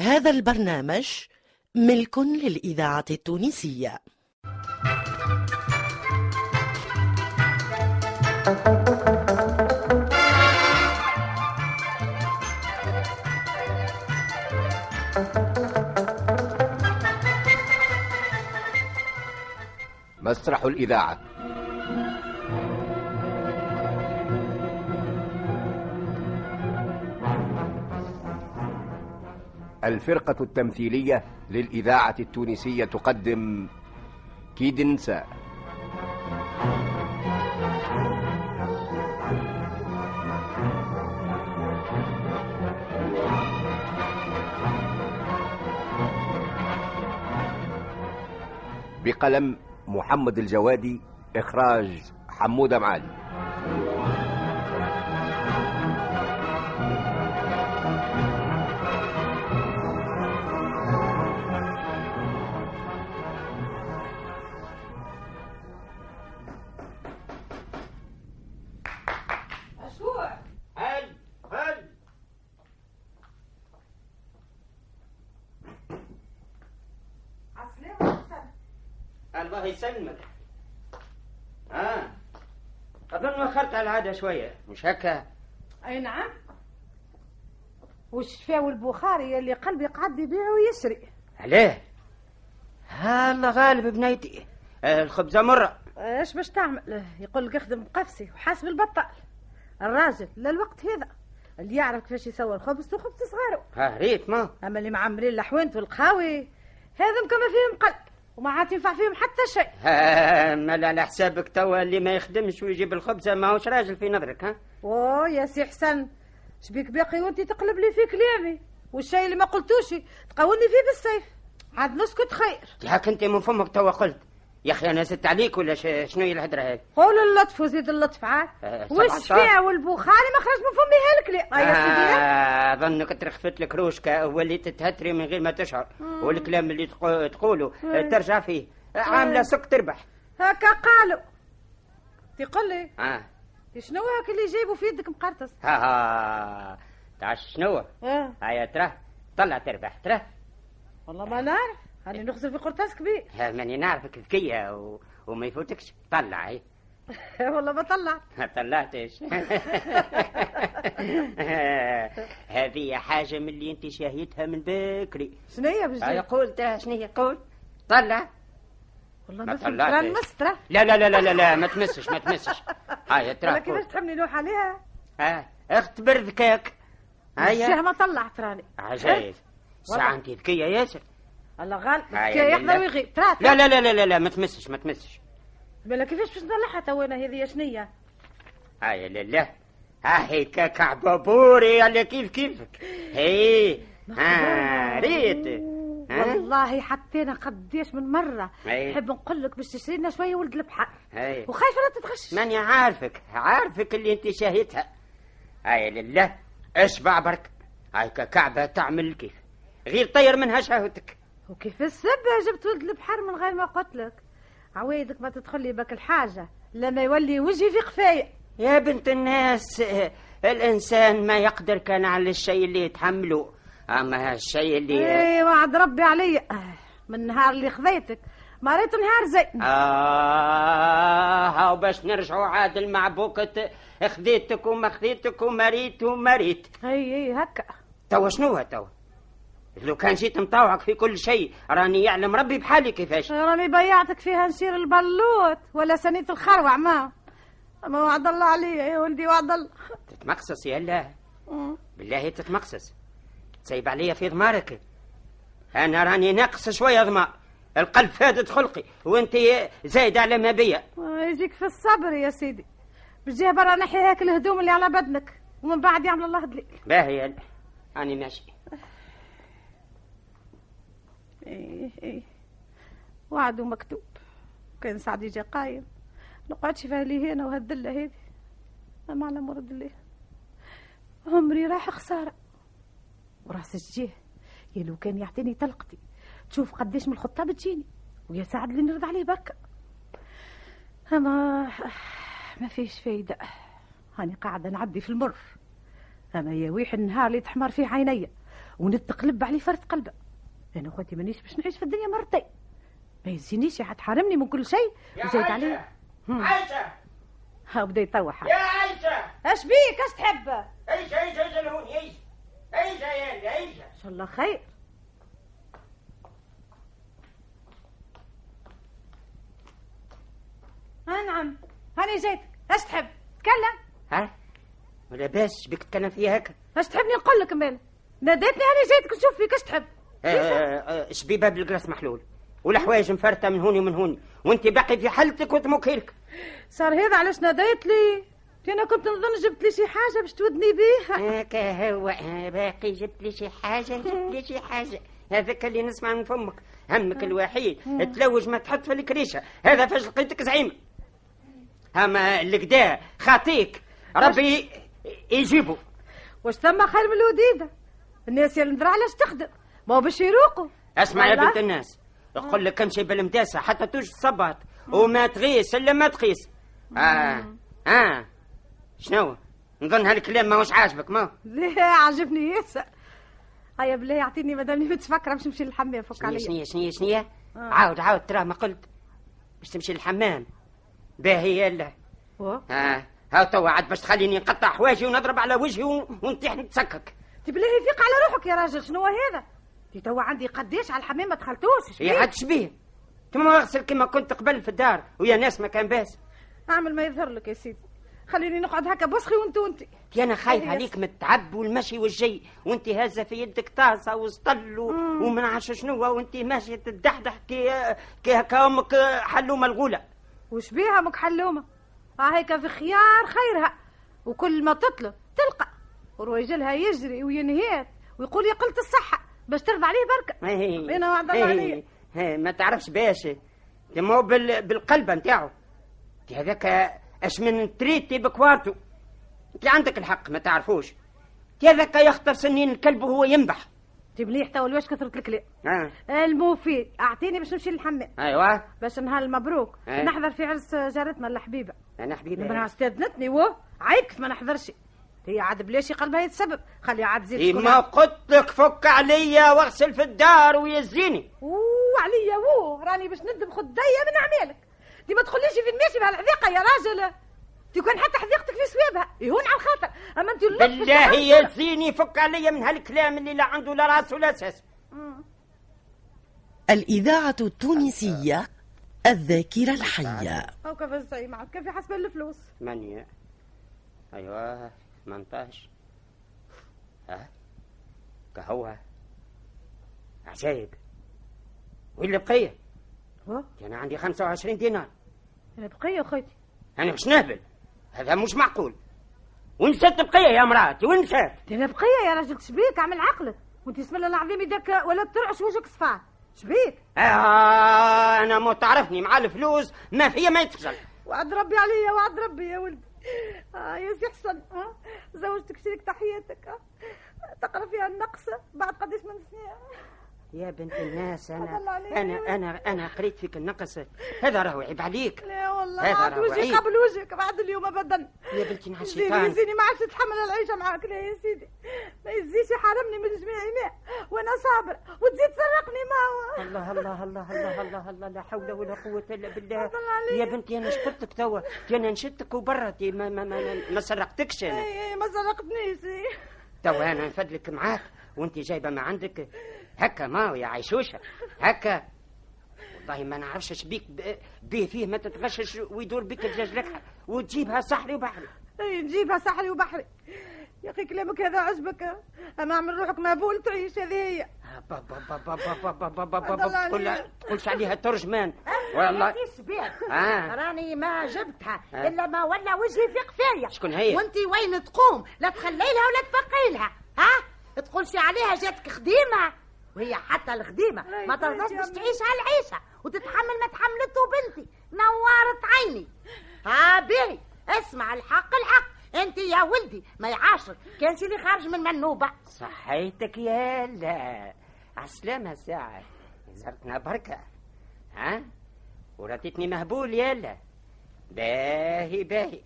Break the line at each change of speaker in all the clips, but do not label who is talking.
هذا البرنامج ملك للإذاعة التونسية
مسرح الإذاعة الفرقة التمثيلية للإذاعة التونسية تقدم كيد نساء بقلم محمد الجوادي إخراج حمودة معالي
مشروع
هل هل
عسلامة حسن
الله يسلمك اه اظن وخرت على العاده شويه مش هكا
اي نعم
والشفاء والبخاري اللي قلبي قعد يبيع ويشري
عليه ها الله غالب بنيتي آه الخبزه مره
ايش باش تعمل يقول لك اخدم بقفسي وحاسب البطال الراجل للوقت هذا اللي يعرف كيفاش يسوي الخبز وخبز صغاره
ها ريت ما
اما اللي معمرين الحوانت والقهاوي هذا كما فيهم قلب وما عاد ينفع فيهم حتى شيء
ها مال على حسابك توا اللي ما يخدمش ويجيب الخبزه ما هوش راجل في نظرك ها
اوه يا سي حسن شبيك باقي وانت تقلب لي في كلامي والشيء اللي ما قلتوش تقولني فيه بالسيف عاد نسكت خير
هاك انت من فمك توا قلت يا اخي انا زدت عليك ولا ش- شنو هي الهدره هاي
قول اللطف وزيد اللطف عاد
آه، سبع
والشفاء
عشرة.
والبخاري ما خرج من فمي هالكلام آه، يا سيدي لا.
آه، اظنك ترخفت لك روشكه وليت تتهتري من غير ما تشعر والكلام اللي تقو- تقوله آه، ترجع فيه آه، عامله سك تربح
هكا قالوا تقول لي
اه
شنو هاك اللي جايبه في يدك مقرطس
ها ها تعش شنو
اه
هيا ترى طلع تربح ترى
والله ما نعرف هاني نخزر في قرطاس كبير
ها، آه، ماني نعرفك ذكيه و... وما يفوتكش طلع هي
والله ما طلع
ما طلعتش هذه حاجه من اللي انت شاهيتها من بكري
شنو هي باش
هيا
جايب؟
قول ترى شنو هي قول طلع
والله
ما
ما فهمت
طلعتش.
راه مسترة
لا لا لا لا لا, لا ما تمسش ما تمسش هيا
والله
ترى
كيفاش
قول
تحملي نوح عليها
ها، اختبر ذكاك
الشاه
هيا
ما إيه؟ طلعت راني
عجيب ساعة انت ذكيه ياسر
والله غالب
هيا
كي
لله.
يحضر ويغيب ترات
لا لا لا لا لا, لا ما تمسش ما تمسش
مالا كيفاش باش نطلعها تو انا هذه شنية
هاي لله هاي كعبابوري على كيف كيفك هي ها ريت ها
والله حطينا قديش من مرة
أي.
نحب نقول لك باش تشري لنا شوية ولد البحر
هاي
وخايفة لا تتغش
ماني عارفك عارفك اللي انت شاهدتها هاي لله اشبع برك هاي كعبة تعمل الكيف غير طير منها شهوتك
وكيف السبة جبت ولد البحر من غير ما قلت لك عوايدك ما تدخل لي بك الحاجة لما يولي وجهي في قفايا
يا بنت الناس آه، الانسان ما يقدر كان على الشيء اللي يتحمله اما الشيء اللي
اي إيه، وعد ربي عليا آه، من نهار اللي خذيتك ما ريت نهار
أه.
زي
آه هاو باش نرجعوا عاد المعبوكة خذيتك وما خذيتك ومريت ومريت
اي اي هكا
توا شنو هو توا لو كان جيت مطاوعك في كل شيء راني يعلم ربي بحالي كيفاش
راني بيعتك فيها نشير البلوت ولا سنية الخروع ما ما وعد الله عليا يا ولدي وعد الله
تتمقصص يا الله بالله تتمقصص تسيب عليا في ضمارك انا راني ناقص شويه ضمار القلب فادت خلقي وانت زايد على ما بيا
يجيك في الصبر يا سيدي بجيه برا نحي هاك الهدوم اللي على بدنك ومن بعد يعمل الله دليل
باهي يلا. راني ماشي
ايه ايه وعد ومكتوب كان سعدي جا قايم نقعدش فيها لي هنا وهالذلة هذه أما على مرد الله عمري راح خسارة وراس الجيه يا لو كان يعطيني تلقتي تشوف قديش من الخطة بتجيني ويا سعد اللي نرد عليه بركة أما ما فيش فايدة هاني قاعدة نعدي في المر أما يا ويح النهار اللي تحمر فيه عينيا ونتقلب عليه فرد قلبه انا خوتي مانيش باش نعيش في الدنيا مرتين ما يزينيش حد حارمني من كل شيء وزايد عليه هم.
عايشة
ها بدا يطوح
يا عايشة
اش بيك اش تحب ان
عيشة عيشة عيشة لهون عيشة عيشة يا اللي، عيشة
شاء الله خير ها نعم هاني جيت اش تحب تكلم
ها ولا باس بك تكلم فيها هكا
اش تحبني نقول لك مال ناديتني هاني جيتك نشوف فيك اش تحب
آه، آه، آه، شبيبه بالقراص محلول والحوايج مفرته من هوني ومن هوني وانت باقي في حالتك وتموكيلك
صار هذا علاش ناديت لي انا كنت نظن جبت لي شي حاجه باش تودني بيها
هكا هو باقي جبت لي شي حاجه جبت لي شي حاجه هذاك اللي نسمع من فمك همك الوحيد تلوج ما تحط في الكريشه هذا فاش لقيتك زعيم اما الكدا خاطيك ربي يجيبه
واش ثم خير من الوديده الناس يا المدرعه علاش تخدم ما هو باش يروقوا
اسمع يا
والله.
بنت الناس نقول لك امشي بالمداسه حتى توجد صبات وما تغيس الا ما تقيس اه اه شنو نظن هالكلام ماهوش عاجبك ما هو.
لا عجبني ياسر هيا بالله يعطيني مادام متفكره باش نمشي للحمام فك
شنيا
عليا
شنيا شنيا شنيا
آه.
عاود عاود تراه ما قلت باش تمشي للحمام باهي يلا
و-
اه ها توا عاد باش تخليني نقطع حواجي ونضرب على وجهي ون- ونطيح نتسكك
انت بالله يفيق على روحك يا راجل شنو هذا انت توا عندي قديش على الحمام ما دخلتوش شبيك؟
يا إيه، عاد شبيه تما اغسل كما كنت قبل في الدار ويا ناس ما كان باس
اعمل ما يظهر لك يا سيدي خليني نقعد هكا بوسخي وانت وانت
كي انا خايف
أيوة.
عليك من التعب والمشي والجي وانت هازه في يدك طاسه وسطل و- وما نعرفش شنو وانت ماشيه تدحدح كي كي هكا امك حلومه الغوله
وش بيها امك حلومه ها هيك في خيار خيرها وكل ما تطلب تلقى ورواجلها يجري وينهيت ويقول يا قلت الصحه باش ترضى عليه بركه
إيه.
انا وعد الله
إيه.
عليا
إيه. ما تعرفش باش ما هو بال... بالقلب نتاعو انت هذاك اش من تريتي بكوارتو انت عندك الحق ما تعرفوش انت هذاك يخطر سنين الكلب وهو ينبح
انت مليح توا الواش كثرت الكلام
آه.
المفيد اعطيني باش نمشي للحمام
ايوه
باش نهار المبروك
إيه.
نحضر في عرس جارتنا الحبيبه
انا حبيبي
المراه استاذنتني واه عيب كيف ما نحضرش هي عاد بلاش قلبها يتسبب خليها عاد تزيد
إيه
تكون
ما قلت لك فك عليا واغسل في الدار ويزيني
وعليا ووه راني باش ندم خدية من اعمالك دي ما تخليش في الماشي بهالحذيقه يا راجل تكون حتى حذيقتك في سوابها يهون على الخاطر اما انت اللطف
بالله
التعب-
يزيني فك عليا من هالكلام اللي لا عنده لا راس ولا اساس
الإذاعة التونسية الذاكرة الحية
هاو كيف الزي معك كيف حسب الفلوس
ثمانية أيوة 18 ها كهوة عجايب وين اللي بقية؟
ها؟
أنا عندي 25 دينار
انا بقية اخوتي
أنا مش نهبل هذا مش معقول وين سات بقية يا مراتي وين سات؟
انا بقية يا راجل شبيك اعمل عقلك وانت بسم الله العظيم يدك ولا ترعش وجهك صفار شبيك
آه أنا مو تعرفني مع الفلوس ما هي ما يتفشل
وعد ربي عليا وعد ربي يا ولدي آه يا سي حسن آه زوجتك شريك تحياتك آه تقرا فيها النقصة بعد قديش من سنين
يا بنت الناس أنا
الله عليك.
أنا أنا أنا قريت فيك النقص هذا راهو عيب عليك
لا والله
هذا
بعد
راه
وجهي
وعيد.
قبل وجهك بعد اليوم ابدا
يا بنتي مع
يزيني-
الشيطان.
يزيني ما عادش نتحمل العيشه معاك لا يا سيدي ما يزيش يحرمني من جميع ماء وانا صابره وتزيد تسرقني ما هو
الله الله الله الله الله الله لا حول ولا قوة إلا بالله
تفضل
يا
عليا.
بنتي أنا شكرتك توا أنا نشدتك وبرتي ما ما ما, ما سرقتكش أنا
اي اي إيه، ما سرقتنيش إي.
توا أنا نفدلك معاك وأنت جايبة ما عندك هكا ما هو يا عيشوشة هكا والله ما نعرفش اش بيك ب- بيه فيه ما تتغشش ويدور بك الدجاج لك وتجيبها صحري وبحري
اي إيه، نجيبها سحري وبحري يا اخي كلامك هذا عجبك اما اعمل روحك مهبول تعيش هذه هي تفضل عليا.
تقولش عليها ترجمان والله
شبيك
آه.
راني ما جبتها
آه.
الا ما ولا وجهي في قفايا
شكون هي؟
وانت وين تقوم لا تخلي لها ولا تفقي لها ها تقولش عليها جاتك خديمه وهي حتى الخديمه
راهي
ما
كويس
ترضاش
يا
باش
أمي.
تعيش على العيشه وتتحمل ما تحملته بنتي نورت عيني ها باهي اسمع الحق الحق انت يا ولدي ما يعاشرك كان شي اللي خارج من منوبه
صحيتك يا هلا عسلامة ساعة زرتنا بركة ها وراتتني مهبول يا هلا باهي باهي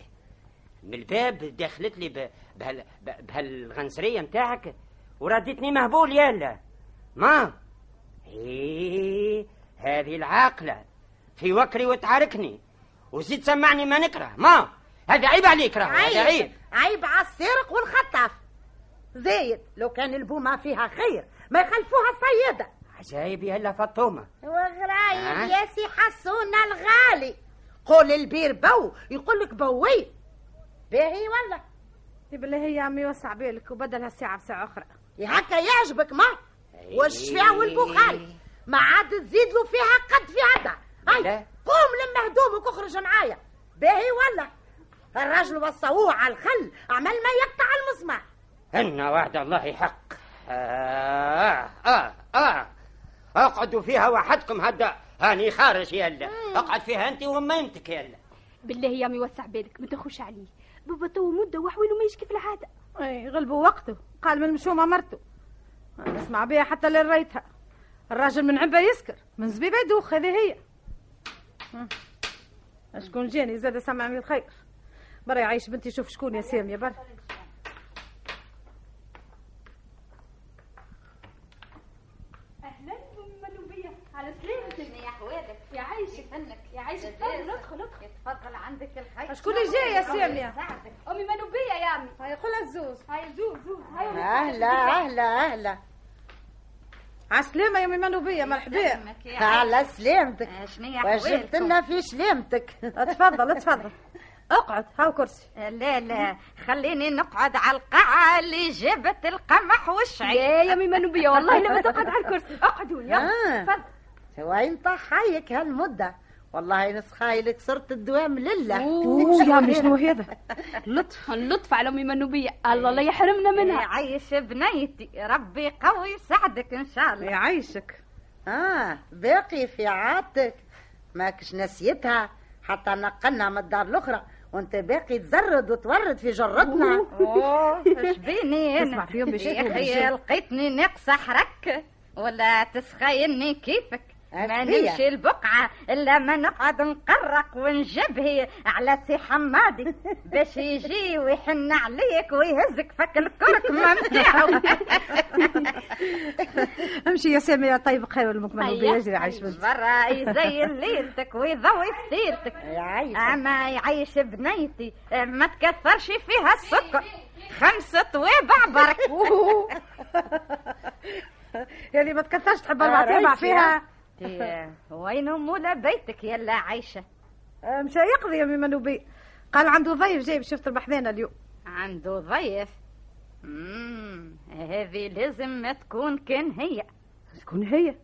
من الباب دخلت لي ب- بهال ب- بهالغنسرية نتاعك ورديتني مهبول يلا ما ايه هذه العاقلة في وكري وتعاركني وزيد سمعني ما نكره ما هذا عيب عليك راه آه، هذا عيب
عيب عيب على السرق والخطف زايد لو كان البومة فيها خير ما يخلفوها الصيادة
عجايب يلا فطومة آه.
وغرايب يا سي حسون الغالي قول البير بو يقول لك بوي باهي ولا
بالله يا عمي وسع بالك وبدلها الساعة بساعة أخرى
إيه، هكا يعجبك ما
إيه.
أي.
والشفاع والبخاري ما عاد تزيد له فيها قد في عدا
إيه.
لا.
هاي قوم لما هدومك اخرج معايا باهي ولا الراجل وصوه على الخل عمل ما يقطع المسمار
أن وعد الله حق آه آه آه اقعدوا فيها وحدكم هدا هاني خارج يلا اقعد فيها أنت وميمتك يلا
بالله يا امي وسع بالك ما تخوش عليه بابا تو مده وحويله ما يجي كيف العاده
اي غلبوا إيه، وقته قال من مشومة مرته ما نسمع بها حتى لريتها الراجل من عبا يسكر من زبيبة يدوخ هذه هي مم. شكون جاني زاد سمعني الخير برا يعيش بنتي شوف شكون يا سامية برا
اهلا ملوبيه على سلامتك يا حوادك يا عايشك انك يا عايشك تفضل ادخل ادخل
تفضل عندك الخير
شكون اللي جاي يا سامية
امي ملوبيه يا عمي
هيا قولها الزوز
هاي زوز زوز هاي أمي.
اهلا اهلا اهلا
عسلامة يا ميمانو بيا مرحبا
على سلامتك واش جبت لنا في سلامتك
تفضل تفضل اقعد هاو كرسي
لا لا خليني نقعد على القاعة اللي جابت القمح والشعير
يا يا امي ملوبيه والله لما تقعد على الكرسي اقعدوا يلا
آه. وين طحايك هالمدة والله نسخايلك صرت الدوام لله
اوه يا عمي شنو هذا
لطف لطف على امي ملوبيه الله لا يحرمنا منها
عايش بنيتي ربي قوي يساعدك ان شاء الله
يعيشك
اه باقي في عاتك ماكش نسيتها حتى نقلنا من الدار الاخرى وانت باقي تزرد وتورد في جرتنا
اوه إيش بيني انا
اسمع في يوم بيشد
يا اخي
وبيشد.
لقيتني ناقصه حركة ولا تسخيني كيفك ما
أسفية.
نمشي البقعة إلا ما نقعد نقرق ونجبهي على سي حمادي باش يجي ويحن عليك ويهزك فك الكركمة متاعو
امشي يا سامية طيب خير المكمل
هيا.
بيجري عايش بنتي
برا يزين ليلتك ويضوي فطيرتك اما يعيش بنيتي ما تكثرش فيها السكر خمسة طوابع برك
يعني ما تكثرش تحب اربع تابع فيها
تي- إيه، وين مولا بيتك يلا عايشة
آه، مشى يقضي يا ميمانو بيا قال عنده ضيف جايب شفت البحذانه اليوم
عنده ضيف مم، هذه لازم ما تكون كان هي
شكون هي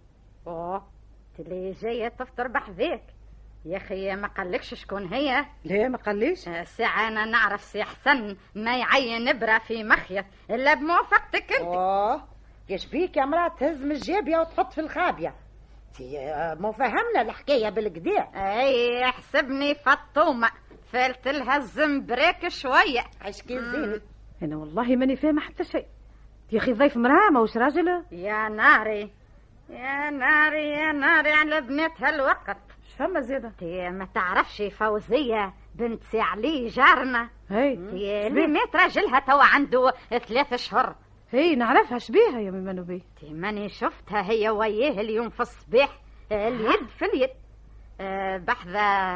اوه تلي جاية تفطر بحذاك يا اخي ما قالكش شكون هي
لا ما قاليش
ساعة أنا نعرف سي حسن ما يعين إبرة في مخيط إلا بموافقتك أنت
اوه كيش بيك يا مرأة تهز من الجابية وتحط في الخابية تي، آه، مو فهمنا الحكاية بالكدا
أي احسبني إيه، فطومة فلت لها الزنبريك شوية
عايش كي
آه.
زينك
انا والله ماني فاهمه حتى شيء يا اخي ضيف مراه ماهوش راجل
يا ناري يا ناري يا ناري على بنات هالوقت
اش فما زياده
تي ما تعرفش فوزية بنت سي علي جارنا
هي
تي اللي مات راجلها توا عنده ثلاث شهور
هي نعرفها شبيها يا ميمانو بيا
تي ماني شفتها هي وياه اليوم في الصباح اليد في اليد آه، بحذا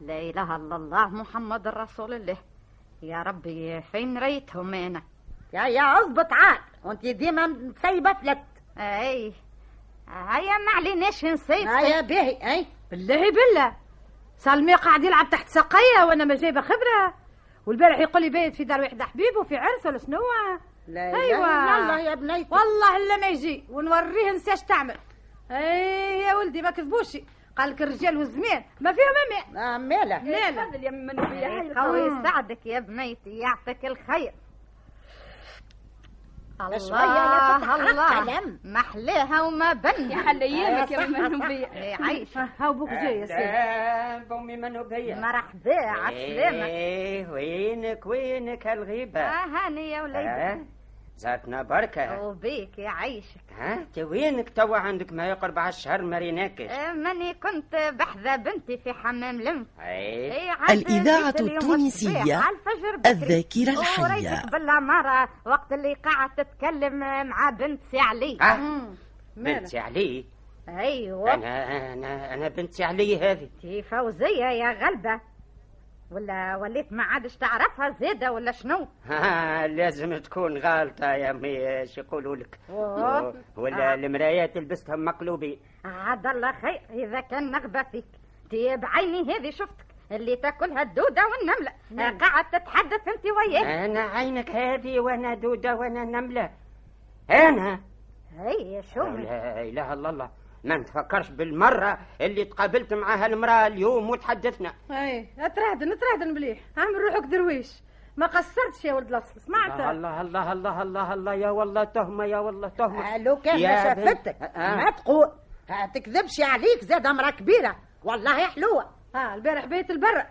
لا اله الا الله محمد رسول الله يا ربي فين ريتهم انا
يا يا اضبط عاد وانت ديما متسيبة فلت
اي هيا ما عليناش نسيب
آه، يا باهي اي
بالله بالله سالمي قاعد يلعب تحت ساقية وانا ما جايبه خبره والبارح يقول لي بايت في دار واحد حبيبه في عرس ولا شنو
لا
أيوة.
يلا يا بنيتي
والله الا ما يجي ونوريه نساش تعمل اي يا ولدي ما كذبوش قال لك الرجال والزمان ما فيهم امان
آه، ماله
لا لا
تفضل يا امي ملوبيه هاي
قوي يساعدك يا بنيتي يعطيك الخير
شوية يا
الله
فتح
الله
قلم.
محلاها وما
يا
بنها
حل ايامك يا امي ملوبيه
إي، عايشة
هاو بوك جاي يا سيدي
أهلا أمي منوبية
مرحبا عسلامة
إيه وينك وينك هالغيبة
آه هاني يا وليدي
آه، زادنا بركة
وبيك يعيشك
ها انت وينك توا عندك ما يقرب على الشهر ما ريناكش
آه، ماني كنت بحذا بنتي في حمام لم
اي
إيه، عاد
الإذاعة
جيت اليوم
التونسية
الصباح على الفجر بكري.
الذاكرة الحية.
وريتك بالعمارة وقت اللي قاعد تتكلم مع بنت سي علي
اه بنتي علي
ايوه
انا انا انا بنتي علي هذه
تي فوزية يا غلبة ولا وليت ما عادش تعرفها زيدة ولا شنو
ها لازم تكون غالطة يا امي اش يقولوا لك
أوه.
ولا
آه.
المرايات لبستهم مقلوبين
عاد الله خير إذا كان نغبة فيك تي بعيني هذه شفتك اللي تاكلها الدودة والنملة
نعم.
آه، قاعد تتحدث انت وياه
انا عينك هذه وانا دودة وانا نملة انا
نعم.
اي شوفي
لا اله الا الله ما نتفكرش بالمرة اللي تقابلت معها المرأة اليوم وتحدثنا
اي اترهدن اترهدن إيه، مليح اعمل روحك درويش ما قصرتش يا ولد الاصل
الله
سمعت
الله الله الله الله الله يا والله تهمة يا والله تهمة
لو كان
يا
ما شافتك
بنت- آه.
ما تقول آه، تكذبش عليك زاد امراه كبيره والله حلوه
ها البارح بيت البر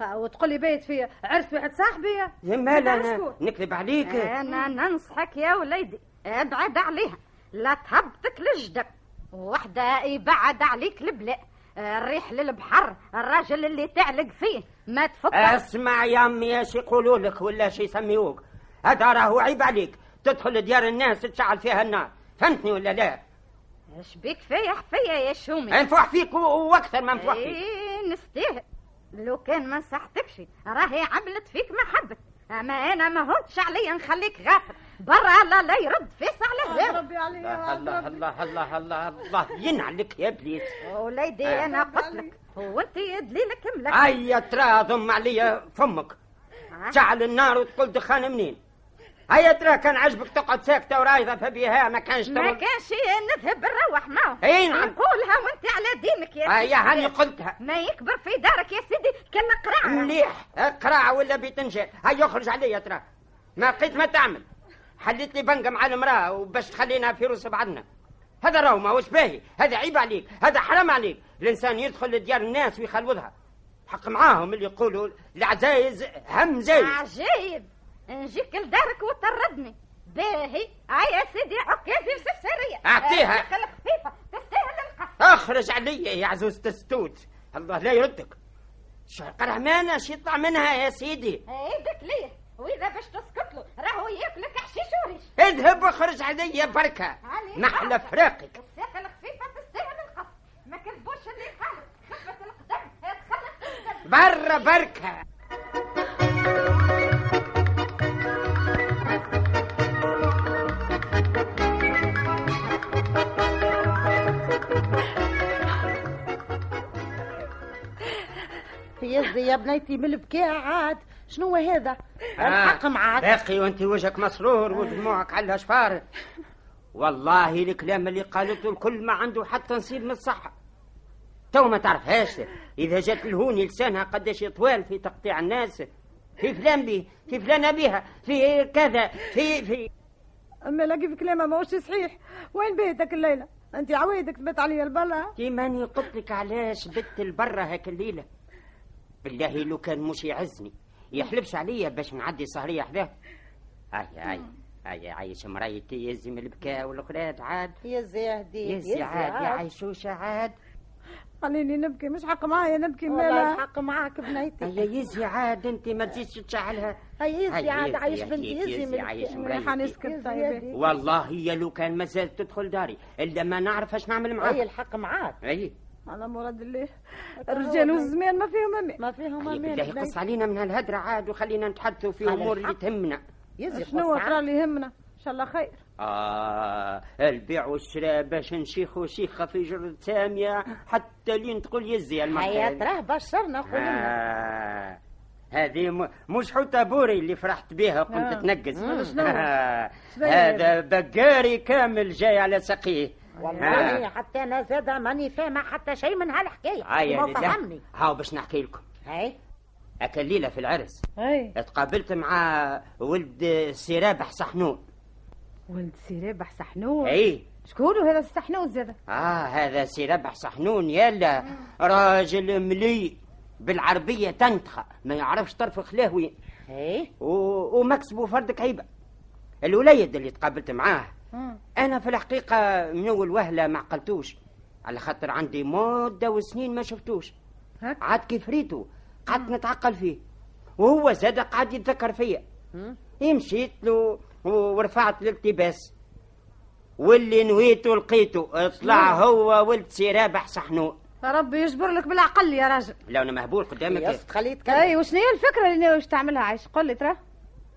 ها وتقول لي بيت في عرس واحد صاحبي
يا مال
أنا
انا
شكون؟
نكذب عليك
نعم.
انا ننصحك يا وليدي ابعد عليها لا تهبطك لجدك وحده يبعد عليك البلاء الريح للبحر الراجل اللي تعلق فيه ما
أه.
تفكر
اسمع يا امي اش يقولوا لك ولا اش يسميوك هذا راهو عيب عليك تدخل ديار الناس تشعل فيها النار فهمتني ولا لا؟
اش بيك فيا حفيه يا شومي
انفوح فيك و- واكثر ما نفوح فيك
ايه نستاهل لو كان ما نصحتكش راهي عملت فيك محبه اما انا ما هونتش عليا نخليك غافل برا لا لا يرد فيس على هذا
آه، ربي عليا
الله الله الله الله الله الله ينعلك يا ابليس
وليدي
آه.
انا قلت لك وانت دليلك ملك
هيا ترى ضم عليا فمك تشعل النار وتقول دخان منين هيا ترى كان عجبك تقعد ساكته ورايضه فبيها ما كانش
ما
تمر
كانش نذهب نروح معه
أي نعم.
نقولها وانت على دينك يا سيدي
هيا هاني قلتها
ما يكبر في دارك يا سيدي كان قرع
مليح قراع ولا بيتنجان هيا اخرج عليا ترى ما لقيت ما تعمل حليت لي بنقه مع المراه وباش تخلينا في روس بعدنا هذا راهو ماهوش باهي هذا عيب عليك هذا حرام عليك الانسان يدخل لديار الناس ويخلوذها حق معاهم اللي يقولوا العزايز هم زايز
عجيب نجيك لدارك وتردني باهي هيا سيدي عك هذه السفسارية
أعطيها.
آه، الخفيفة تستاهل القص
اخرج عليا يا عزوز تستوت الله لا يردك شو قرعمانة شي يطلع منها يا سيدي
ايدك ليه واذا باش تسكت له راهو ياكلك حشيش وريش
اذهب واخرج عليا بركة
عليك
محلى
بركة.
فراقك
الساقة الخفيفة تستاهل القص ما كذبوش اللي قالوا خفة القدم تخلق القدم
برا بركة
يزي يا بنيتي من البكاء عاد شنو هذا
آه.
الحق معاك
باقي وانت وجهك مسرور ودموعك على شفار والله الكلام اللي قالته الكل ما عنده حتى نصيب من الصحة تو ما تعرفهاش إذا جات الهوني لسانها قداش طوال في تقطيع الناس في فلان به في فلانة بها في كذا في في
اما لاقي في كلامها ماهوش صحيح وين بيتك الليله انت عوايدك تبات عليا البلا
كي ماني قلت لك علاش بت البرة هاك الليلة بالله لو كان مش يعزني يحلفش عليا باش نعدي سهرية حداه هيا هيا هيا عايش مرايتي يزي من البكاء والقراد عاد
يزي يا هديك
يزي عاد يا عيشوشة عاد
خليني نبكي مش حق معايا نبكي
والله
مالا
الحق معاك بنيتي
هيا يزي عاد انت ما تزيدش تشعلها
هي يزي
هيا
عاد
يزي
عايش
يا
بنتي
هديك،
يزي
يزي
من
عايش
البكاء.
مرايتي.
حنسكت
يزي يا
طيب
هديك.
والله يا لو كان ما زالت تدخل داري الا ما نعرف اش نعمل
هي
معاه
الحق معاك
اي
على مراد الله الرجال والزمان ما فيهم امان
ما فيهم
هيا
امان
بالله
بنيتي.
قص علينا من هالهدرة عاد وخلينا نتحدثوا في
على
امور اللي
الحق.
تهمنا
يزي
شنو
قص
ترى اللي يهمنا ان شاء الله خير
آه البيع والشراء باش نشيخوا شيخة في جرة سامية حتى لين تقول يزي
هيا
المحكمة
تراه بشرنا قول لنا
آه هذه م- مش حوتة بوري اللي فرحت بها وقمت
آه.
تنقز
شنو؟
آه،
شنو هي؟
هذا بقاري كامل جاي على ساقيه آه.
والله حتى انا زاده ماني فاهمه حتى شيء من هالحكايه
عيا
ما
لله.
فهمني
هاو باش نحكي لكم
هاي
هاك الليلة في العرس
اي
تقابلت مع ولد سي رابح صحنون
ولد سي رابح سحنون
اي
شكون هذا السحنون زاد
آه هذا سي ربح صحنون يلا راجل ملي بالعربية تنتخى ما يعرفش طرف خلاه وين
هاي
و- ومكسبه فردك عيبة الوليد اللي تقابلت معاه انا في الحقيقه من اول وهله ما عقلتوش على خاطر عندي مده وسنين ما شفتوش
هك.
عاد كيف ريتو قعدت نتعقل فيه وهو زاد قعد يتذكر فيا إيه، مشيت له ورفعت الالتباس واللي نويته لقيته
نعم.
طلع هو ولد سي رابح صحنون
ربي يجبر لك بالعقل يا راجل
لو انا مهبول قدامك
يسط خليه يتكلم
اي وشنو هي الفكره اللي ناوي باش تعملها عايش قول لي ترى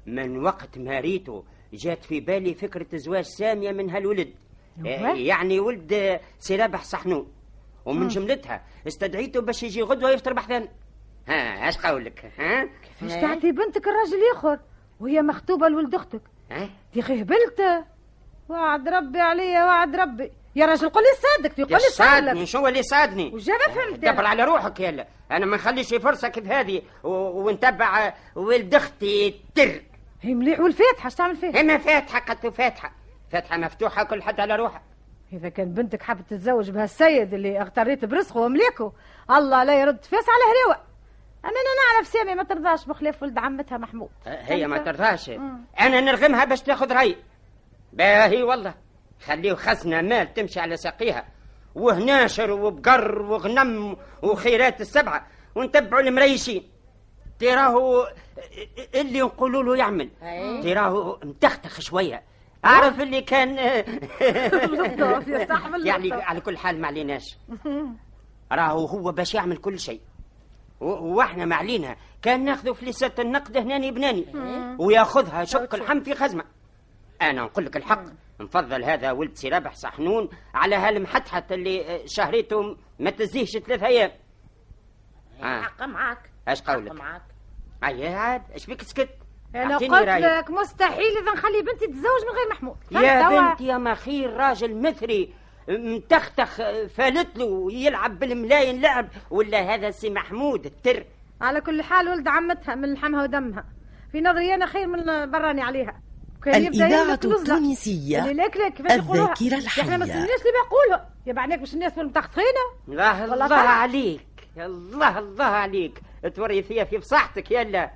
من وقت ما ريته جات في بالي فكرة زواج سامية من هالولد آه، يعني ولد آه، سي رابح صحنون
نعم.
ومن جملتها استدعيته باش يجي غدوة يفطر بحذان ها اش قولك ها
باش تعطي بنتك الراجل اخر وهي مخطوبه لولد اختك
ها
يا اخي هبلت وعد ربي عليا وعد ربي يا راجل قول لي صادق تقول لي
صادني
صادق
شو اللي صادني
وجا ما فهمت
دبر
أنا.
على روحك يلا انا ما نخليش فرصه كيف هذه و- ونتبع آه، ولد اختي تر
هي مليح والفاتحه اش تعمل فيها
اما فاتحه قد فاتحه فاتحه مفتوحه كل حد على روحه
اذا كان بنتك حابه تتزوج بهالسيد اللي اغتريت برزقه ومليكه الله لا يرد فاس على هريوه اما انا نعرف سامي ما ترضاش بخلاف ولد عمتها محمود
أه، هي ما
أنت-
ترضاش انا نرغمها باش تاخذ راي باهي والله خليه خسنا مال تمشي على ساقيها وهناشر وبقر وغنم وخيرات السبعه ونتبعوا المريشين تراه اللي نقولوا له يعمل تراه متختخ شويه اعرف اللي كان
بالضبط، يا صاح بالضبط.
يعني على كل حال ما عليناش راهو هو باش يعمل كل شيء و- واحنا ما علينا كان ناخذ فليسة النقد هناني بناني وياخذها شق الحم في خزمه انا نقول لك الحق نفضل هذا ولد سي رابح صحنون على هالمحتحت اللي آه، شهريته ما تزيهش ثلاث ايام آه.
حق معاك
اش قولك؟
حق معاك
اي آه، عاد اش بك سكت؟
انا
أعطيني
قلت
رأيك.
لك مستحيل اذا نخلي بنتي تتزوج من غير محمود
يا
فهمت توا؟
بنتي يا مخير راجل مثري متختخ فالت له يلعب بالملاين لعب ولا هذا سي محمود التر
على كل حال ولد عمتها من لحمها ودمها في نظري انا خير من براني عليها وكان يبدا
الإذاعة
يملك نزلة.
التونسية
اللي لك لك كيفاش يقولوها
الذاكرة الحية.
احنا ما سمعناش اللي بقوله يا بعناك باش الناس والمتختخينه
الله
والله
الله
طلع.
عليك الله الله عليك توريثيها في فصاحتك يلا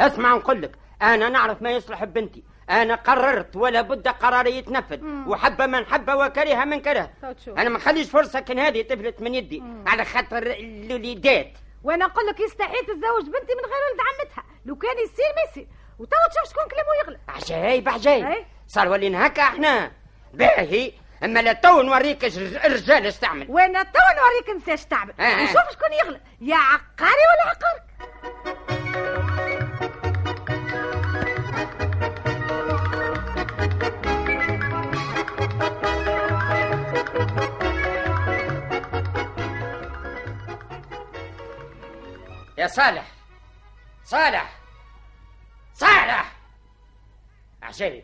اسمع نقول لك انا نعرف ما يصلح ببنتي انا قررت ولا بد قراري يتنفذ وحبه من حبه وكره من كره
تو تشوف.
انا ما نخليش فرصه كان هذه تفلت من يدي على خاطر الوليدات
وانا نقول لك يستحيل تتزوج بنتي من غير ولد عمتها لو كان يصير ما يصير وتوا تشوف شكون كلامه يغلى
عجاي
أي.
بعجاي صار ولينا هكا احنا باهي اما لا تو نوريك الرج- الرجال اش تعمل
وانا توا نوريك نساش تعمل
آه، آه.
وشوف شكون يغلى يا عقاري ولا عقارك
يا صالح صالح صالح عجاي يا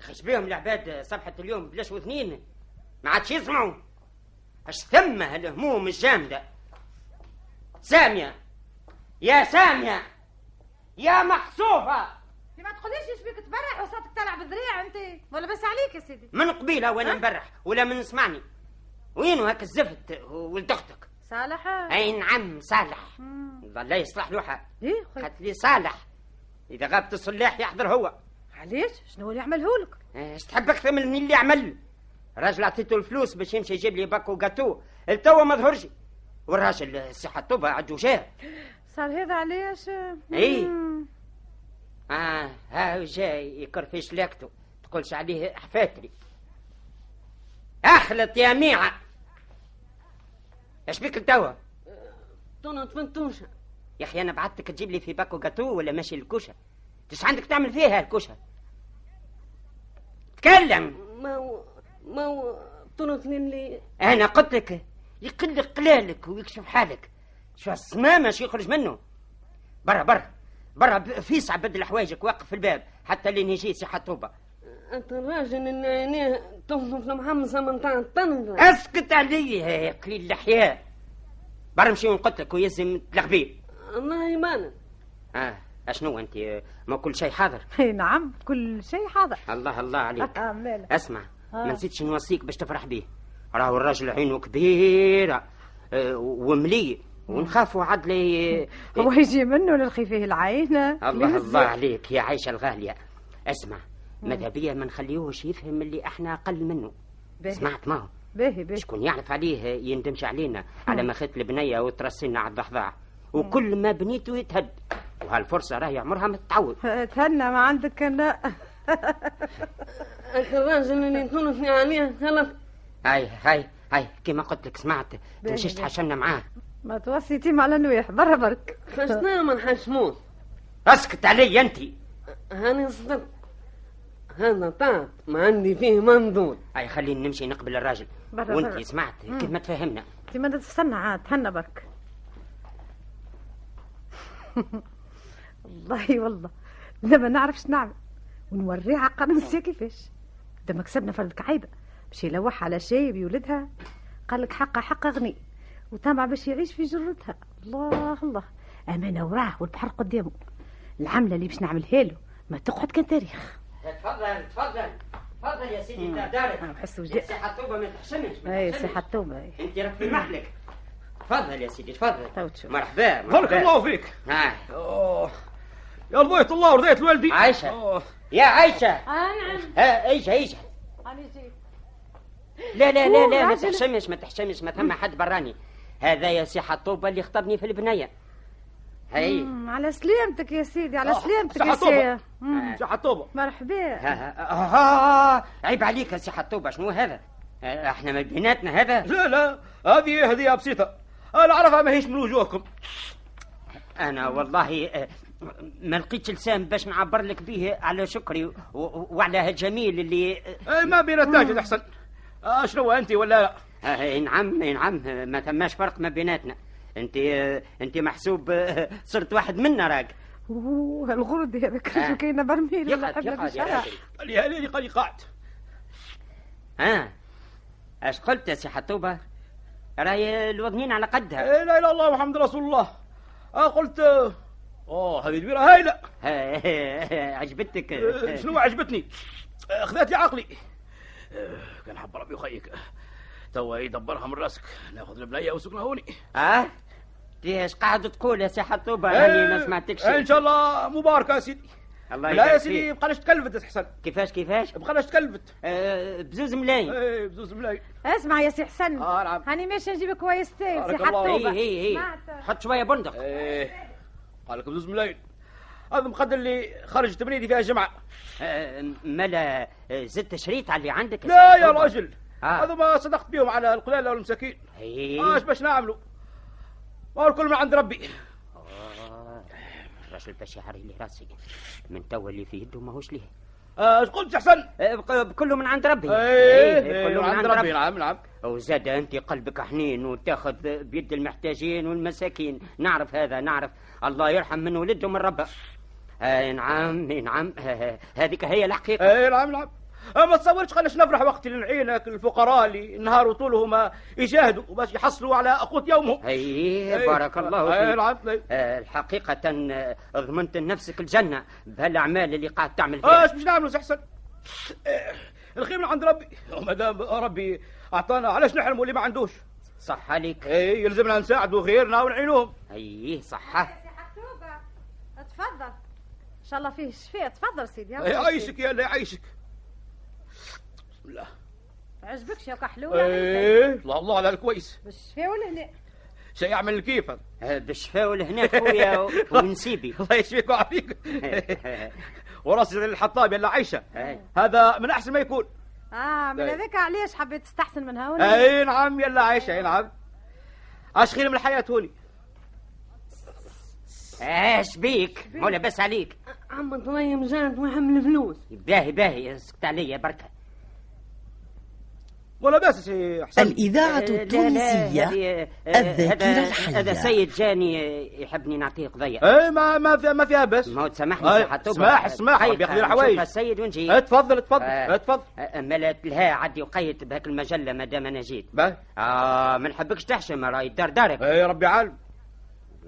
اخي إيش بيهم العباد صفحة اليوم بلاش واثنين ما عادش يسمعوا اش ثم هالهموم الجامدة سامية يا سامية يا محسوفة
ما تقوليش ايش بيك تبرع وصوتك طالع بالذريع انت ولا بس عليك يا سيدي
من قبيله وانا مبرح ولا من سمعني وينو هاك الزفت ولد اختك
صالح
اي نعم صالح الله يصلح لوحه
ايه خي
قالت لي صالح اذا غابت الصلاح يحضر هو
علاش شنو اللي عملهولك
اش تحب اكثر من اللي عمل راجل عطيته الفلوس باش يمشي يجيب لي باكو جاتو التوا ما ظهرش والراجل صحة طوبة عجو جاه
صار هذا علاش آه،
إيه.
مم.
اه ها جاي يكرفش لاكتو تقولش عليه حفاتري اخلط يا ميعة اش بيك التوا طنط فنتوش يا اخي انا بعتك تجيب لي في باكو جاتو ولا ماشي الكوشه ايش عندك تعمل فيها الكوشه تكلم
ما هو ما هو طنطني اللي
انا قلت لك يقل قلالك ويكشف حالك شو الصمامه شو يخرج منه برا برا برا ب- فيسع بدل حوايجك واقف في الباب حتى لين يجي سي حطوبه
انت الراجل اللي عينيه تنطن محمصه من تاع الطنطا
اسكت عليا يا قليل اللحية برا نمشي ونقلت لك ويزم تلغبيب
الله يبارك
اه اشنو انت آه، ما كل شيء حاضر
اي نعم كل شيء حاضر
الله الله عليك
آه، ماله.
اسمع ما نسيتش نوصيك باش تفرح بيه راهو الراجل عينه كبيره آه، وملي ونخافوا عاد لا ي-
هو يجي منه نلخي فيه العين
الله الله عليك يا عايشة الغالية اسمع ماذا بيا ما نخليوهش يفهم اللي احنا اقل منه
باهي.
سمعت ما هو.
باهي باهي
شكون يعرف عليه يندمش علينا على ما خدت البنيه وترسلنا على الضحضاع وكل ما بنيته يتهد وهالفرصه راهي عمرها ما تتعوض
تهنى ما عندك لا
الراجل اللي تونسني عليه غلط
هاي هاي هاي كما قلت لك سمعت تمشيش تحشمنا معاه
ما توصيتي على نويح برا برك
فشنا ما نحشموش
اسكت علي انت
هاني صدق هذا طاب ما عندي فيه مندود
هاي خليني نمشي نقبل الراجل
برا، برا.
وانت سمعت كيف ما تفهمنا
انت ما تستنى عاد تهنى برك والله والله انا ما نعرفش نعمل ونوريه عقب نسيا كيفاش لما كسبنا في الكعيبه باش يلوح على شاي بيولدها قال لك حقه حقه غني وطمع باش يعيش في جرتها الله الله امانه وراه والبحر قدامه العمله اللي باش نعملها له ما تقعد كان تاريخ
تفضل تفضل تفضل يا سيدي انت
أنا
دارك
نحس وجاء.
صحة طوبة ما تحشمش ما
اي
تحشمش.
صحه التوبه
انت راك في محلك تفضل يا سيدي تفضل
تو تشوف.
مرحبا
بارك
مرحبا
الله فيك
هاي
أوه. يا رضيت الله ورضيت والدي
عايشة.
أوه.
يا عايشة
اه نعم
ها ايش ايش
انا جيت
لا لا لا لا ما
راجل.
تحشمش ما تحشمش ما ثم حد براني هذا يا سي حطوبة اللي خطبني في البنية هاي
مم، أمم، على سلامتك يا سيدي على
آه،
سلامتك يا أمم.
صحة
سي
طوبة.
آه.
شو حطوبة
مرحبا
ها ها آه، آه، عيب عليك يا سي حطوبة شنو هذا آه، احنا من بيناتنا هذا
لا لا هذه هدية بسيطة انا عرفها ماهيش من وجوهكم
انا والله آه، ما لقيتش لسان باش نعبر لك به على شكري و- و- وعلى هالجميل اللي آه،
إيه، ما بين التاجد احسن آه، شنو انت ولا لا
آه، نعم نعم آه، ما ثماش فرق ما بيناتنا انت آه، انت محسوب آه، صرت واحد منا راك
اوه الغرد هذاك
آه.
شو كاينه برميل ولا
يقعد
حبه
يقعد يا
بشرع
راجل
اللي هليلي قال لي قاعد
اه اش قلت يا سي حطوبه راي الوضنين على قدها
إيه، لا اله الا الله محمد رسول الله آه، قلت آه، اوه هذه دويره هايله
عجبتك
آه، إيه. شنو عجبتني آه، خذت لي عقلي آه، كان حب ربي يخيك توا يدبرها من راسك ناخذ البلايه وسكنها هوني
اه انت اش قاعد تقول يا سي حطوبه راني ما
إيه،
سمعتكش
ان شاء الله مباركه يا سيدي
الله
لا يا
يبارك
سيدي
فيك.
بقاش تكلفت احسن
كيفاش كيفاش
بقاش تكلفت
آه، بزوز ملايين
ايه بزوز ملاي
آه، اسمع يا سي حسن
آه،
اه نعم
هاني ماشي نجيبك كويس تي
بارك
سي
الله.
هي
حطوبه
هي هي
سمعت.
حط شويه بندق
ايه قال لك بزوز ملاي هذا مقدر اللي خرج تبنيتي فيها جمعه
آه، ملا آه، زدت شريط على اللي عندك سي
لا يا
حطوبة.
راجل
آه.
هذا ما صدقت بيهم على القلاله والمساكين
هي
اش آه، باش نعملوا ما هو الكل من عند ربي
آه، الراجل باش يعري لي راسي من توا اللي في يده ماهوش ليه
اش قلت احسن
آه، بق- كله من عند ربي
ايه
إيه،
ايه من عند ربي نعم نعم
وزاد انت قلبك حنين وتاخذ بيد المحتاجين والمساكين نعرف هذا نعرف الله يرحم من ولده من ربه آه نعم إي نعم آه هذيك هي الحقيقه
ايه نعم نعم آه، ما تصورش خلاش نفرح وقت اللي نعينك الفقراء اللي نهار وطولهم آه، يجاهدوا باش يحصلوا على قوت يومهم
اي
إيه،
بارك الله
ايه
فيك
نعم إيه.
آه الحقيقة آه، ضمنت لنفسك الجنة بهالأعمال اللي قاعد تعمل فيها
اش باش نعملوا سي حسن آه، الخير من عند ربي ما دام ربي اعطانا علاش نحرموا اللي ما عندوش
صح عليك
ايه يلزمنا نساعدوا غيرنا ونعينوهم
اي صحة
حطوبه تفضل ان شاء الله فيه شفاء تفضل سيدي
آه، يعيشك يا الله يعيشك بسم الله
عجبكش يا كحلوله
ايه الله الله على الكويس
بالشفاء والهنا
شيء يعمل كيف هذا
آه بالشفاء ولهنا خويا و- ونسيبي
الله يشفيك ويعافيك وراسي زي الحطاب يلا عايشه
أي.
هذا من احسن ما يكون
اه
طيب.
من
إيه.
هذاك علاش حبيت تستحسن من هون
اي نعم يلا عايشه اي نعم عاش خير من الحياه هوني
اش بيك ولا بس عليك
عم تريم جات وحمل فلوس
باهي باهي اسكت عليا بركه
ولا باس سي حسن
الإذاعة
آه، لا، لا،
التونسية
هذه- آه،
الذاكرة
هذا-
الحية.
هذا سيد جاني آه، يحبني نعطيه قضية
اي ما ما فيها ما فيها باس
ما هو تسامحني
آه،
صحة توبة.
سماح- سماح،
خير،
بياخذ
آه،
لي الحوايج.
نشوف السيد ونجي
آه، تفضل تفضل
آه.
آه، تفضل
آه، ملات لها عدي وقيت بهاك المجلة ما دام انا جيت
باهي.
اه ما نحبكش تحشم راهي الدار دارك
اي ربي عالم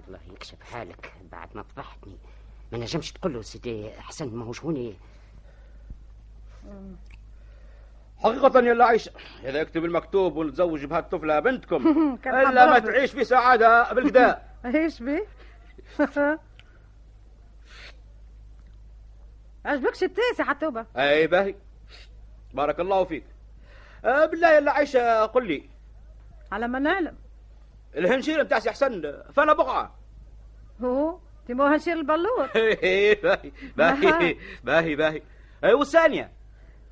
والله يكشف حالك بعد ما فضحتني ما نجمش تقول له سيدي حسن ماهوش هوني
حقيقة يلا عايشة إذا يكتب المكتوب ونتزوج بهالطفلة بنتكم
كان حظ
إلا ما
ربي.
تعيش في سعادة بالكدا
ايش بيه عجبكش التاسع حتوبة
اي باهي بارك الله فيك آه بالله الا عايشه قل لي
على ما نعلم
الهنشير نتاع سي حسن فانا بقعه
هو تيمو هنشير البلور
باهي باهي باهي باهي اي والثانيه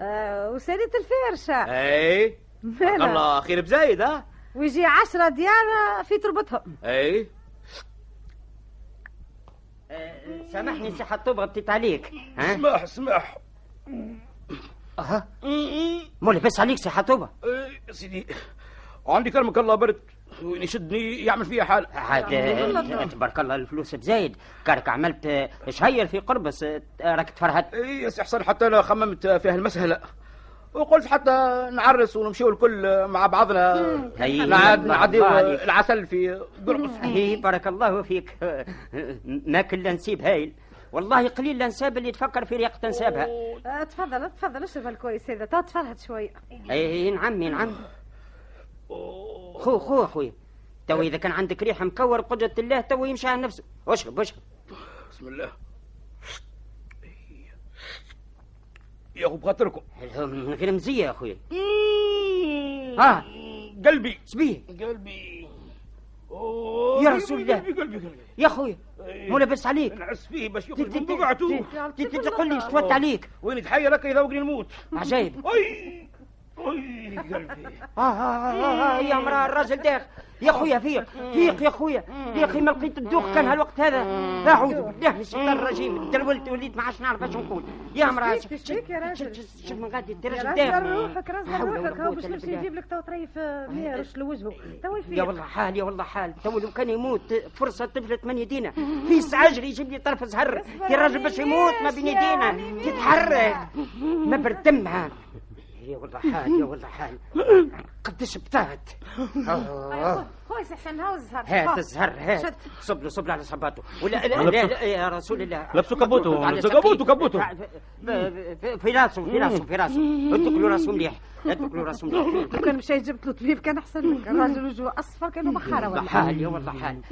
آه وسالية
آه،
الفرشة
اي
مالا.
الله خير بزايد ها
ويجي عشرة ديار في تربتهم
اي
سامحني سي حطوب غطيت عليك ها
اسمح اسمح
اها مول بس عليك سي حطوبه
إيه، سيدي عندي كرمك الله برد وين يشدني يعمل فيها حال
عاد آه، تبارك الله الفلوس تزايد كارك عملت آه، شهير في قربص آه، راك تفرهد
اي يا سي حسن حتى انا خممت في هالمساله وقلت حتى نعرس ونمشيو الكل مع بعضنا
هي
نعد نعدي
الله عليك.
العسل في قرقص
هي بارك الله فيك ما كل نسيب هايل والله قليل الانساب اللي تفكر في رياقه انسابها
آه تفضل تفضل اشرب الكويس هذا تو تفرهد شوية
اي نعم يا نعم خو خو اخوي تو اذا كان عندك ريح مكور بقدره الله تو يمشي على نفسه اشرب اشرب
بسم الله يا اخو بخاطركم
هذا من غير مزيه يا اخوي اه
قلبي
سبيه
قلبي
يا رسول الله.
قلبي قلبي قلبي
يا اخوي مو لاباس عليك
نعس فيه باش يخرج من بقعته
تقول لي شتوت عليك
وين يتحير هكا يذوقني الموت
عجيب
اي اي قلبي
آه آه آه آه يا
إيه.
مرا الراجل داخ يا خويا فيق فيق يا خويا يا اخي ما لقيت الدوخ
إيه.
كان هالوقت هذا اعوذ بالله من الشيطان الرجيم تلولت وليت ما عادش نعرف اش نقول يا مرا
شبيك- شبيك يا راجل؟
شوف من غادي انت
يا
راجل
راجل
داخ
روحك راجل
لا حول ولا
روحك هو
قوة
باش
إلا
نمشي
بالله. إيه،
نجيب لك تو طريف مية رش لوجهه تو
يا
يفيق
والله حال يا والله حال تو لو كان يموت فرصة تفلت من يدينا في عجل يجيب لي طرف زهر يا راجل باش يموت ما بين يدينا
يعني
يتحرك ما برد دمها يا والله حال يا والله حال قديش بطات آه.
خويا حسن هاوز
هات الزهر هات صب له صب له على صباته ولا لا, لا, لا يا رسول الله
لبسوا كبوته،
على
لبسوا
ساقيه.
كبوته، كبوته.
في- في- في راسه في راسه في راسه اتكلوا راسه مليح اتكلوا راسه مليح
لو كان مشى جبت له طبيب كان احسن لك الراجل وجهه اصفر كانوا بحاره
والله
ولا
حال يا والله حال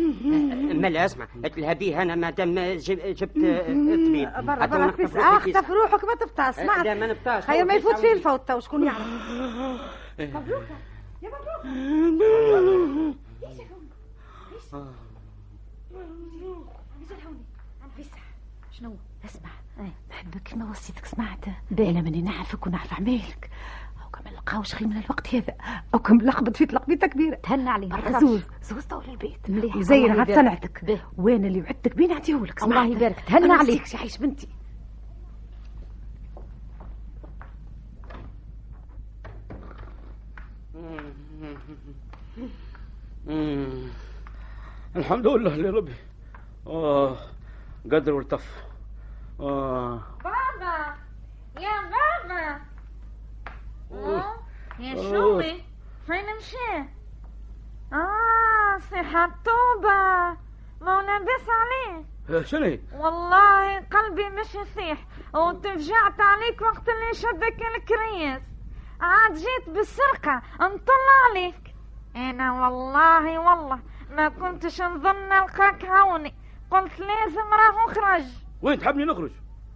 ملا اسمع اتلها بيه انا ما دام جب- جبت آه، طبيب
برا
حتى
برا
ونحفظ
كيس
في كيس.
اخطف روحك ما تفتح سمعت
لا، ما نبتاش.
هيا ما يفوت فيه الفوت تو شكون يعرف
شنو اسمع نحبك ما وصيتك سمعت انا ماني نعرفك ونعرف عمالك او كما نلقاوش خير من الوقت هذا او كم لخبط في تلقبيته كبيره
تهنى علينا
برا زوز زوز طول البيت
مليح
وزين
الله
عاد
يبارك.
صنعتك
به.
وانا اللي وعدتك بيه نعطيهولك
الله
سمعت؟
يبارك. تهنى
أنا
عليك.
نسيكش، يعيش بنتي
مم. الحمد لله لربي اه قدر والتف اه
بابا يا بابا
أوه.
يا
أوه.
شومي فين مشي اه سي حطوبة ما هو لاباس عليه
شنو هي؟
والله قلبي مش يصيح وتفجعت عليك وقت اللي شدك الكريس عاد جيت بالسرقة نطلع عليك انا والله والله ما كنتش نظن نلقاك هوني قلت لازم راهو خرج
وين تحبني نخرج؟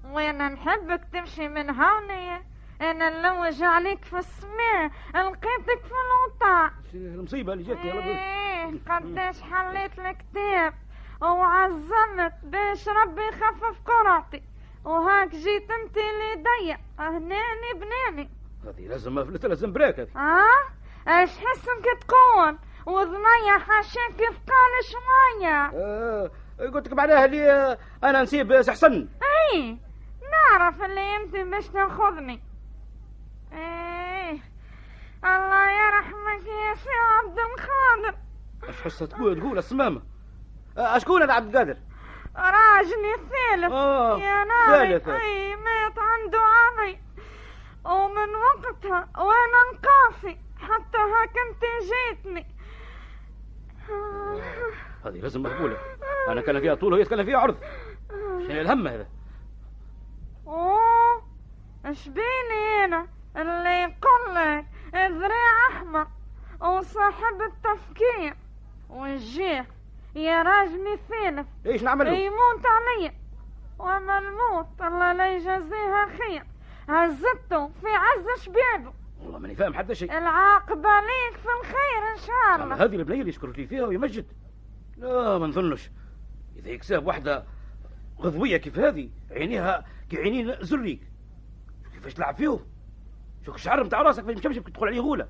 وانا نحبك تمشي من هوني انا نلوج عليك في السماء لقيتك في الوطا
شنو المصيبه اللي جاتني يلا بي.
ايه قداش حليت الكتاب وعزمت باش ربي يخفف قرعتي وهاك جيت انت اللي ضيق هناني بناني
هذه لازم افلت لازم بريك هذه
اه اش حسك تقول وضنيا حاشاك ثقال شوية
آه، قلت لك معناها اللي آه، انا نسيب سي حسن
ايه نعرف اللي انت باش تاخذني ايه الله يرحمك يا سي عبد القادر
اش حسها تقول تقول السمامه آه، اشكون انا عبد القادر؟
راجلي الثالث
آه،
يا ناري
ثالث.
اي مات عنده عامي ومن وقتها وانا نقاسي حتى هاك انت جيتني
هذه لازم مقبوله انا كان فيها طول وهي كان فيها عرض شنو الهم هذا؟
اوه اش بيني انا اللي يقول لك ذراع احمر وصاحب التفكير والجيح يا راجلي الثالث أيوه.
ايش نعمل له؟
يموت عليا وملموط الله لا يجازيها خير عزته في عز شبابه
والله ماني فاهم حتى شيء
العاقبة ليك في الخير إن شاء
أما
الله
هذه البنيه اللي يشكرك لي فيها ويمجد لا ما نظنش اذا يكسب واحده غضويه كيف هذه عينيها كعينين زريك كيفاش تلعب فيه شوف الشعر نتاع راسك فاش مشمشم كي تدخل عليه غوله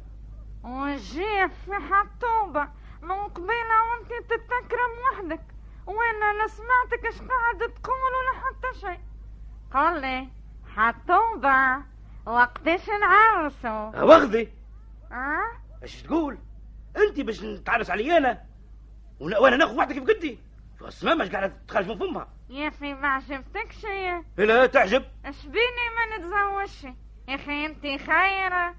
وجيه في حطوبة من قبيلة وانت تتكرم وحدك وانا لا سمعتك اش قاعد تقول ولا حتى شيء قل لي حطوبة وقتاش نعرسوا
واخذي
اه
اش تقول انت باش نتعرس علي انا ون- وانا ناخذ واحده كيف قدي شو السمامه اش قاعده تخرج من فمها
يا اخي ما عجبتك شيء
لا تعجب
اش بيني ما نتزوجش يا اخي انت خيرة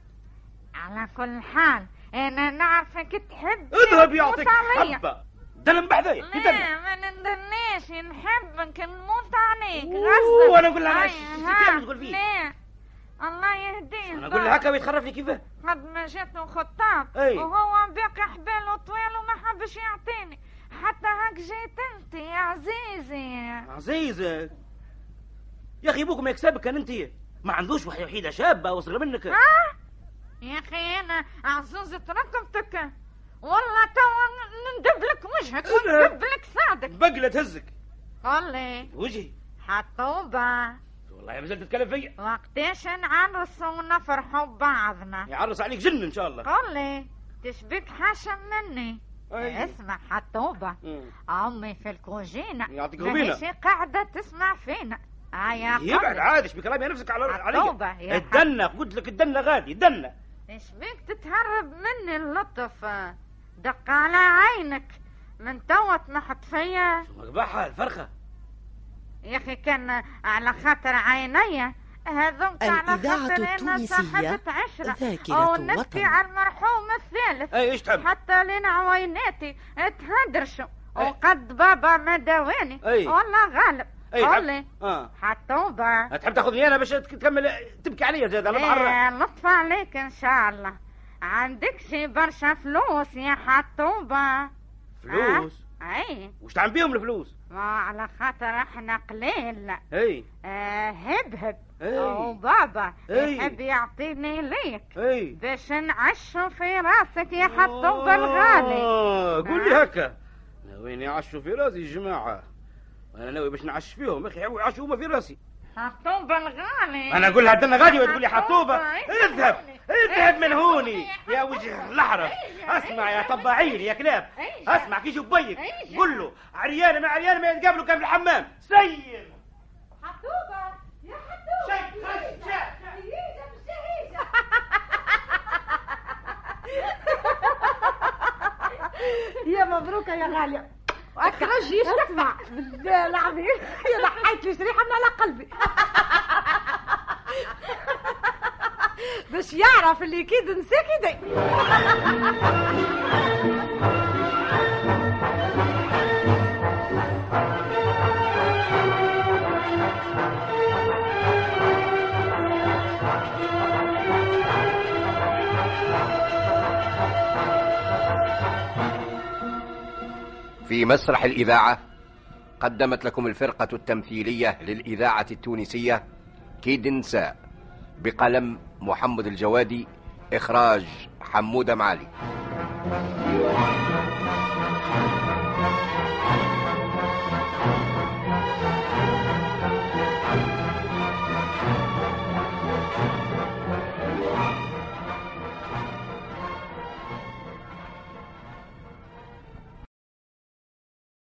على كل حال انا نعرفك تحب
اذهب يعطيك
حبة
حبه دلم بحذايا يدلم.
لا ما نندناش نحبك نموت عليك
أوه،
غصبك
وأنا نقول لها
أي،
عايش،
ها،
كيف تقول فيه؟
لا الله يهديه
انا اقول لها هكا ويتخرف لي كيفاه
قد ما جاتني خطاب
أي.
وهو باقي حباله طويل وما حبش يعطيني حتى هاك جيت انت يا عزيزي
عزيزك يا اخي ابوك ما يكسبك كان انت ما عندوش وحي- وحيده شابه واصغر منك
ها يا اخي انا عزوزة رقبتك والله تو ندب لك وجهك وندب لك صادك
بقله تهزك
قول لي
وجهي
حطوبة
والله ما زلت تتكلم فيا
وقتاش نعرسوا ونفرحوا ببعضنا
يعرس عليك جن ان شاء الله
قول لي تشبيك حاشم مني
أي.
اسمع حطوبة
مم.
امي في الكوجينة
يعطيك روبينة.
ماهيش قاعدة تسمع فينا ايا
يبعد عادي ايش بكلام يا نفسك على
عقوبة يا
علي الدنة قلت لك الدنة غادي الدنة
ايش بيك تتهرب مني اللطف دق على عينك من توا تنحت فيا
مقبحة الفرخة
يا اخي كان على خاطر عينيا هذوك على
الإذاعة
خاطر انا
التونسية
صاحبة عشرة
ذاكرة
ونبكي
وطن.
على المرحوم الثالث
إيه،
أي، إيش تحب؟
حتى لين عويناتي تهدرشوا وقد بابا ما داواني
أي.
والله غالب
أي، تحب-
قولي
اه
حطوبة
تحب تاخذني انا باش تك- تكمل تبكي عليا زاد انا
إيه،
متعرف
لطف عليك ان شاء الله عندك شي برشا فلوس يا حطوبة آه.
فلوس
اي
وش تعمل بيهم الفلوس
ما على خاطر احنا قليل
اي
آه، هب هب
إي.
وبابا
إي.
يحب يعطيني ليك
اي
باش نعشو في راسك يا حطوب الغالي
آه، قول لي هكا ناويين يعشوا في راسي جماعة انا ناوي باش نعش فيهم يا اخي يعشوا هما في راسي
حطوب الغالي
انا اقول لها دنا غادي وتقول لي
حطوبة،
حطوبه اذهب اذهب من هوني يا وجه الحرف اسمع يا طباعين يا كلاب
إيه.
اسمع كي يجيب بيك قول له عريانه مع عريانه ما يتقابلوا كان في الحمام سير
حطوبة يا حطوبة شد خش
يا مبروكة يا غالية اخرج ايش تسمع بالله العظيم يا ضحيت لي شريحة من على قلبي باش يعرف اللي كيد نساك يدي
في مسرح الإذاعة قدمت لكم الفرقة التمثيلية للإذاعة التونسية كيد نساء بقلم محمد الجوادي إخراج حمودة معالي